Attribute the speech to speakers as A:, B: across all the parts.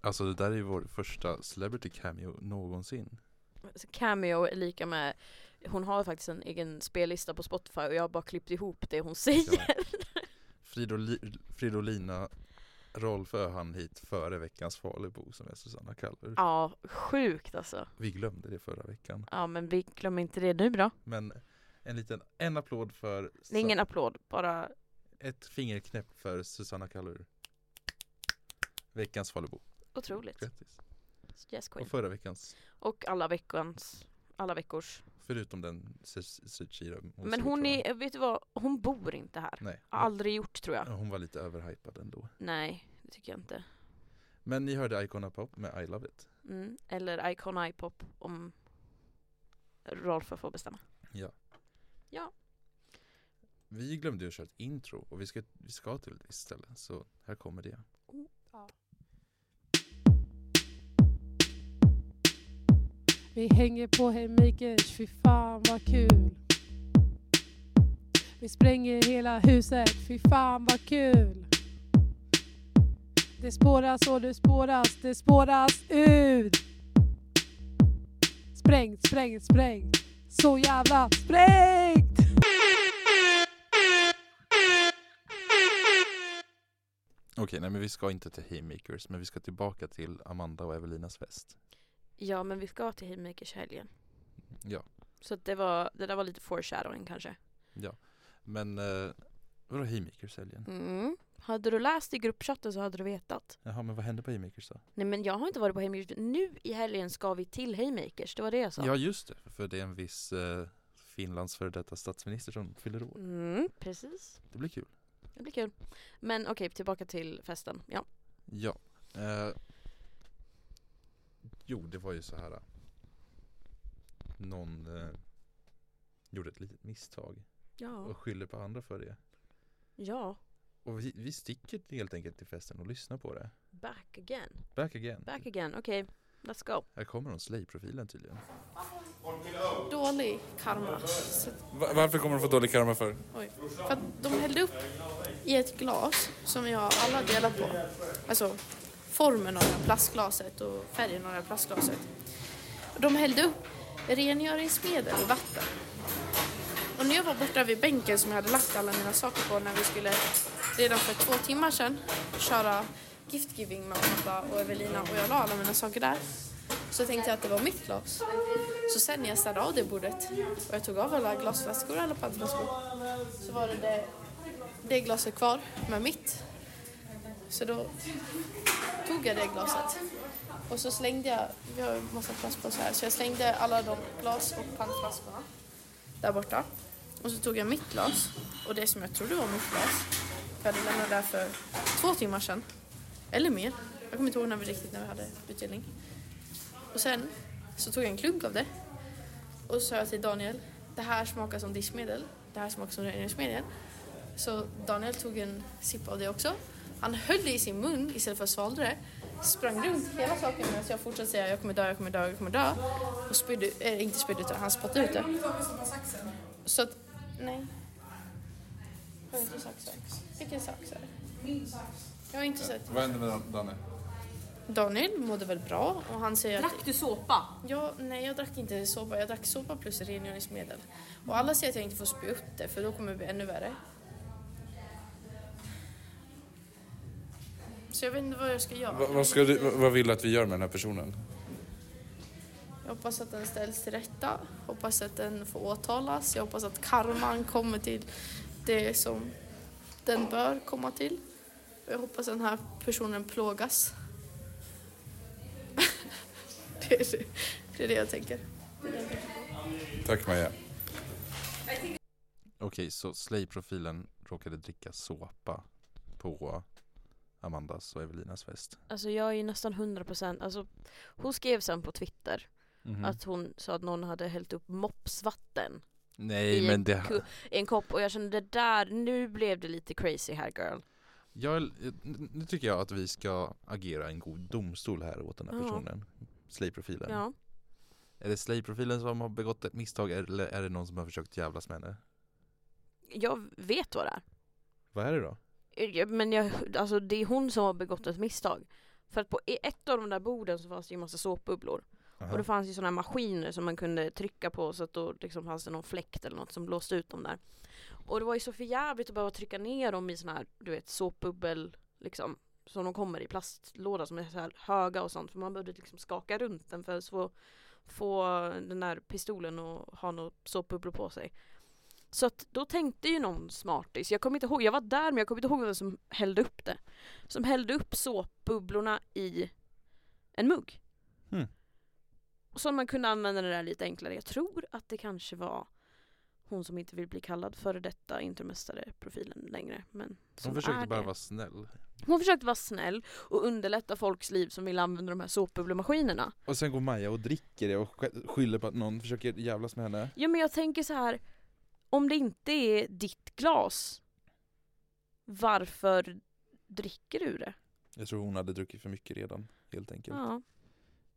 A: Alltså det där är ju vår första celebrity cameo någonsin.
B: Så Cameo är lika med Hon har faktiskt en egen spellista på Spotify och jag har bara klippt ihop det hon säger
A: Fridoli- Fridolina Rolf Öhand hit före veckans Falubo som är Susanna Kallur.
B: Ja, sjukt alltså
A: Vi glömde det förra veckan.
B: Ja men vi glömmer inte det nu då
A: Men en liten, en applåd för
B: Det är ingen applåd, bara
A: ett fingerknäpp för Susanna Kallur. Veckans Falubo.
B: otroligt
A: Grattis.
B: Yes
A: Och
B: queen
A: förra veckans,
B: Och alla veckans alla veckors
A: förutom den Zecira.
B: Men hon är, vet du vad, hon bor inte här
A: Nej,
B: Har aldrig gjort tror jag
A: hon var lite överhypad ändå.
B: Nej, det tycker jag inte
A: Men ni hörde Icona Pop med I Love It.
B: mm. Eller Icon iPop om Rolf får bestämma
A: Ja.
B: Ja.
A: Vi glömde ju att köra ett intro och vi ska, vi ska till ett visst ställe så här kommer det.
C: Vi hänger på Haymakers, fy fan vad kul. Vi spränger hela huset, fy fan vad kul. Det spåras och det spåras, det spåras ut. Sprängt, sprängt, sprängt. Så jävla sprängt!
A: Okej, nej men vi ska inte till Haymakers men vi ska tillbaka till Amanda och Evelinas fest.
B: Ja men vi ska till Haymakers i helgen
A: Ja,
B: Så att det, var, det där var lite foreshadowing kanske.
A: ja. Men eh, vadå Haymakers helgen?
B: Mm. Hade du läst i gruppchatten så hade du vetat.
A: Jaha, men vad hände på Haymakers då?
B: Nej men jag har inte varit på Haymakers. Nu i helgen ska vi till Haymakers, det var det jag sa.
A: Ja, just det, för det är en viss eh, Finlands före detta statsminister som fyller år.
B: Mm, precis.
A: Det blir kul.
B: Det blir kul. Men okej, tillbaka till festen. Ja.
A: Ja. Eh, jo, det var ju så här. eh, Någon eh, gjorde ett litet misstag
B: Ja.
A: och skyller på andra för det.
B: Ja.
A: Och vi, vi sticker helt enkelt till festen och lyssnar på det.
B: Back again.
A: Back again.
B: Back again. Okej, let's go.
A: Här kommer hon, Slay-profilen tydligen.
D: Dålig karma. Så,
A: varför kommer hon få dålig karma för?
D: oj. För att de hällde upp i ett glas som vi har alla delat på. Alltså formen av det här plastglaset och färgen av det här plastglaset. De hällde upp rengöringsmedel i vatten. Och när jag var borta vid bänken som jag hade lagt alla mina saker på när vi skulle redan för två timmar sedan köra giftgiving med Amanda och Evelina och jag la alla mina saker där. Så tänkte jag att det var mitt glas. Så sen när jag städade av det bordet och jag tog av alla glasflaskor och alla pantflaskor så var det det, det glaset kvar med mitt. Så då tog jag det glaset och så slängde jag, vi har ju en massa plastpåsar här, så jag slängde alla de glas och pantflaskorna där borta. Och så tog jag mitt glas och det som jag trodde var mitt glas. Jag hade lämnat där för två timmar sedan. Eller mer. Jag kommer inte ihåg när vi riktigt när vi hade utdelning. Och sen så tog jag en klunk av det. Och så sa jag till Daniel, det här smakar som diskmedel. Det här smakar som rengöringsmedel. Så Daniel tog en sipp av det också. Han höll det i sin mun istället för att svalde det. Sprang runt hela saken medan jag fortsatte säga jag kommer dö, jag kommer dö, jag kommer dö. Och spydde, eh, inte spydde utan han spottade ut det. Så att, nej. Jag har inte saxen. Vilken sax är det? Min sax. Jag har inte sett.
A: Vad hände med Danne?
D: Daniel mådde väl bra och han säger att
E: Drack du såpa?
D: Ja, nej jag drack inte såpa. Jag drack såpa plus rengöringsmedel. Och alla säger att jag inte får spy upp det för då kommer det bli ännu värre. Så jag vet inte vad jag ska göra.
A: vad vill du att vi gör med den här personen?
D: Jag hoppas att den ställs till rätta. Hoppas att den får åtalas. Jag hoppas att karman kommer till det som den bör komma till. Och jag hoppas att den här personen plågas. det, är det, det är det jag tänker.
A: Tack Maja. Okej, så Slay-profilen råkade dricka såpa på Amandas och Evelinas fest.
B: Alltså jag är ju nästan 100%, alltså hon skrev sen på Twitter
A: Mm.
B: att hon sa att någon hade hällt upp mopsvatten
A: Nej,
B: i
A: men
B: en
A: det...
B: ku- i en kopp och jag kände det där, nu blev det lite crazy här girl.
A: Jag, nu tycker jag att vi ska agera en god domstol här åt den här
B: Ja.
A: personen. Slay-profilen.
B: Ja.
A: Är det Slay-profilen som har begått ett misstag eller är det någon som har försökt jävlas med henne?
B: Jag vet vad det är.
A: Vad är det då?
B: Eh, Men jag, alltså det är hon som har begått ett misstag. För att på i ett av de där borden så fanns det ju massa såpbubblor. Och
A: Aha.
B: det fanns ju sådana här maskiner som man kunde trycka på så att då liksom fanns det någon fläkt eller något som blåste ut dem där. Och det var ju så förjävligt att behöva trycka ner dem i sådana här, du vet, såpbubbel liksom. Som de kommer i plastlåda som är så här höga och sånt. För man behövde liksom skaka runt den för att få, få den där pistolen och ha några såpbubblor på sig. Så att då tänkte ju någon smartis, jag kommer inte ihåg, jag var där men jag kommer inte ihåg vem som hällde upp det. Som hällde upp såpbubblorna i en mugg.
A: Hm.
B: Så man kunde använda det där lite enklare. Jag tror att det kanske var hon som inte vill bli kallad före detta Intermästare-profilen längre. Men som
A: Hon
B: är
A: försökte bara
B: det.
A: vara snäll.
B: hon försökte vara snäll och underlätta folks liv som vill använda de här såpbubblemaskinerna.
A: Och sen går Maja och dricker det och sk- skyller på att någon försöker jävlas med henne.
B: Ja men jag tänker så här, om det inte är ditt glas, varför dricker du det?
A: Jag tror hon hade druckit för mycket redan, helt enkelt.
B: Ja,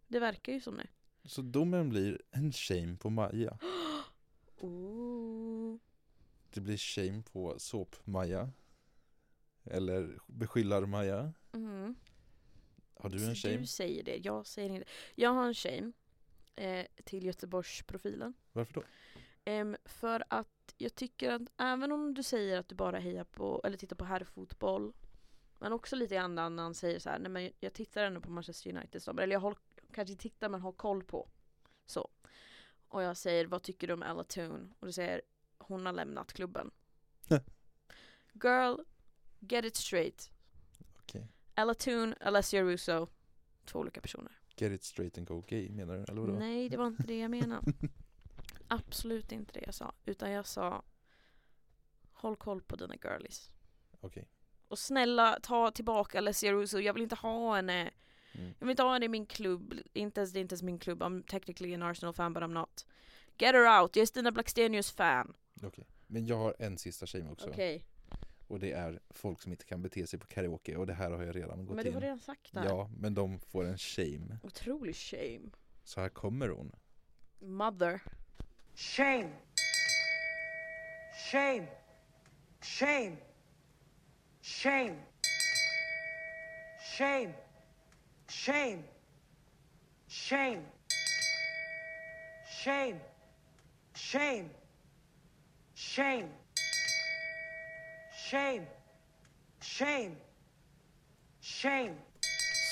B: det verkar ju som det.
A: Så domen blir en shame på Maja.
B: Oh.
A: Det blir shame på såp-Maja. Eller beskyllar-Maja.
B: Mm.
A: Har du en
B: Så
A: shame?
B: du säger det, jag säger inte. Jag har en shame eh, till Göteborgsprofilen.
A: Varför då?
B: Ehm, för att jag tycker att även om du säger att du bara hejar på, eller tittar på herrfotboll. Men också lite i andan när han säger så här, nej men jag tittar ändå på Manchester United snabbt. Eller jag håll, kanske inte tittar men har koll på. Så. Och jag säger, vad tycker du om Ella Toon? Och du säger, hon har lämnat klubben. Girl, get it straight.
A: Okej.
B: Ella Toon, Alessia Russo. Två olika personer.
A: Get it straight and go gay menar du? Eller vadå?
B: Nej, det var inte det jag menade. Absolut inte det jag sa. Utan jag sa Håll koll på dina girlies.
A: Okej.
B: Och snälla ta tillbaka Alessia Russo. Jag vill inte ha henne.
A: Mm.
B: Jag vill inte ha henne i min klubb. Inte ens, det är inte ens min klubb. I'm technically an Arsenal fan but I'm not. Get her out. Jag är Stina Blackstenius fan.
A: Okej. Men jag har en sista shame också.
B: Okej.
A: Och det är folk som inte kan bete sig på karaoke. Och det här har jag redan gått
B: Men du
A: in.
B: har redan sagt det. här.
A: ja, men de får en shame.
B: Otrolig shame.
A: Så här kommer hon.
B: Mother.
E: Shame. Shame. Shame. Shame. Shame. Shame. Shame. Shame. Shame. Shame. Shame. Shame. Shame.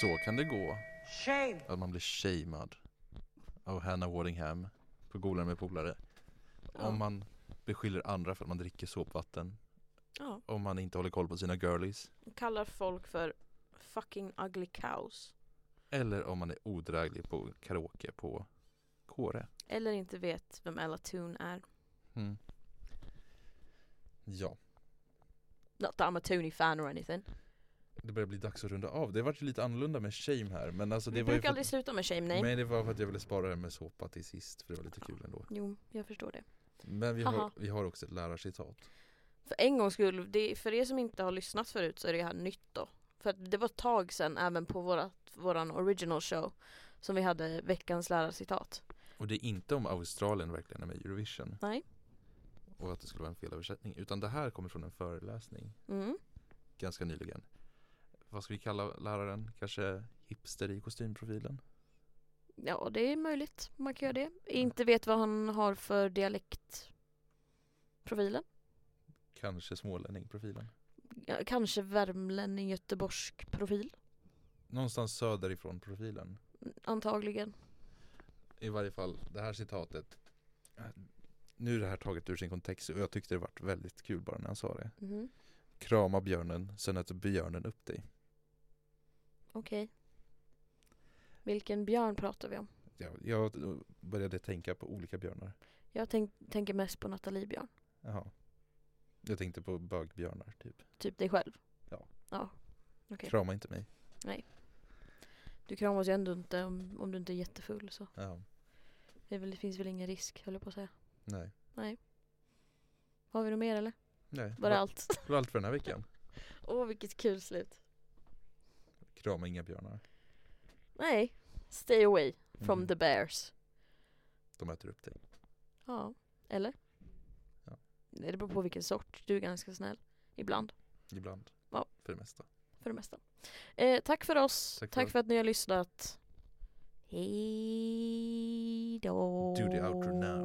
A: Så kan det gå.
E: Shame.
A: Att man blir shamed av Hannah Waddingham på Golare med polare.
B: Ja.
A: Om man beskyller andra för att man dricker såpvatten.
B: Ja.
A: Om man inte håller koll på sina girlies.
B: Kallar folk för fucking ugly cows.
A: Eller om man är odräglig på karaoke på Kåre.
B: Eller inte vet vem Ella Toon är.
A: Mm. Ja,
B: Not that I'm a Toony fan or anything.
A: det börjar bli dags att runda av. Det har varit lite annorlunda med shame här. Men alltså det
B: Vi
A: var ju
B: brukar
A: för
B: aldrig
A: att,
B: sluta med shame name.
A: men det var för att jag ville spara det med såpa till sist. För det var lite kul ändå.
B: Jo, jag förstår det.
A: Men vi
B: Haha.
A: har, vi har också ett lärarcitat.
B: För en gångs skull, det, för er som inte har lyssnat förut så är det här nytt då. För att det var ett tag sedan även på vårat, våran original show som vi hade veckans lärarcitat.
A: Och det är inte om Australien verkligen är med i Eurovision.
B: Nej.
A: Och att det skulle vara en felöversättning. Utan det här kommer från en föreläsning
B: Mm.
A: ganska nyligen. Vad ska vi kalla läraren? Kanske hipster i kostymprofilen?
B: Ja, det är möjligt. Man kan göra det. Inte vet vad han har för dialekt profilen.
A: Kanske smålänning-profilen?
B: Ja, Kanske värmlänning göteborgsk profil.
A: Någonstans söderifrån-profilen.
B: Antagligen.
A: i varje fall det här citatet Nu är det här taget ur sin kontext och jag tyckte det var väldigt kul bara när han sa det
B: Mhm.
A: Krama björnen, sen äter björnen upp dig
B: Okej. Vilken björn pratar vi om?
A: Jag, jag började tänka på olika björnar
B: Jag tänk, tänker mest på Nathalie Björn.
A: Jaha Jag tänkte på bögbjörnar typ
B: Typ dig själv?
A: Ja.
B: Ja. Okej.
A: Krama inte mig
B: Du kramas ju ändå inte om, om du inte är jättefull så.
A: Ja,
B: Det, är väl, det finns väl ingen risk höll jag på att säga.
A: nej
B: Har vi något mer eller?
A: Nej,
B: Var det
A: allt?
B: allt?
A: var allt för den här veckan
B: Åh vilket kul slut.
A: Krama inga björnar
B: Nej. Stay away from
A: Mm.
B: the bears.
A: De äter upp dig
B: Ja. Eller?
A: Ja.
B: Nej, Det beror på vilken sort. Du är ganska snäll. Ibland.
A: Ibland
B: Ja.
A: För det mesta
B: För för det mesta. Eh, tack för oss.
A: Tack
B: Tack,
A: för oss.
B: för att ni har lyssnat. Hej då.
A: Do the outro now.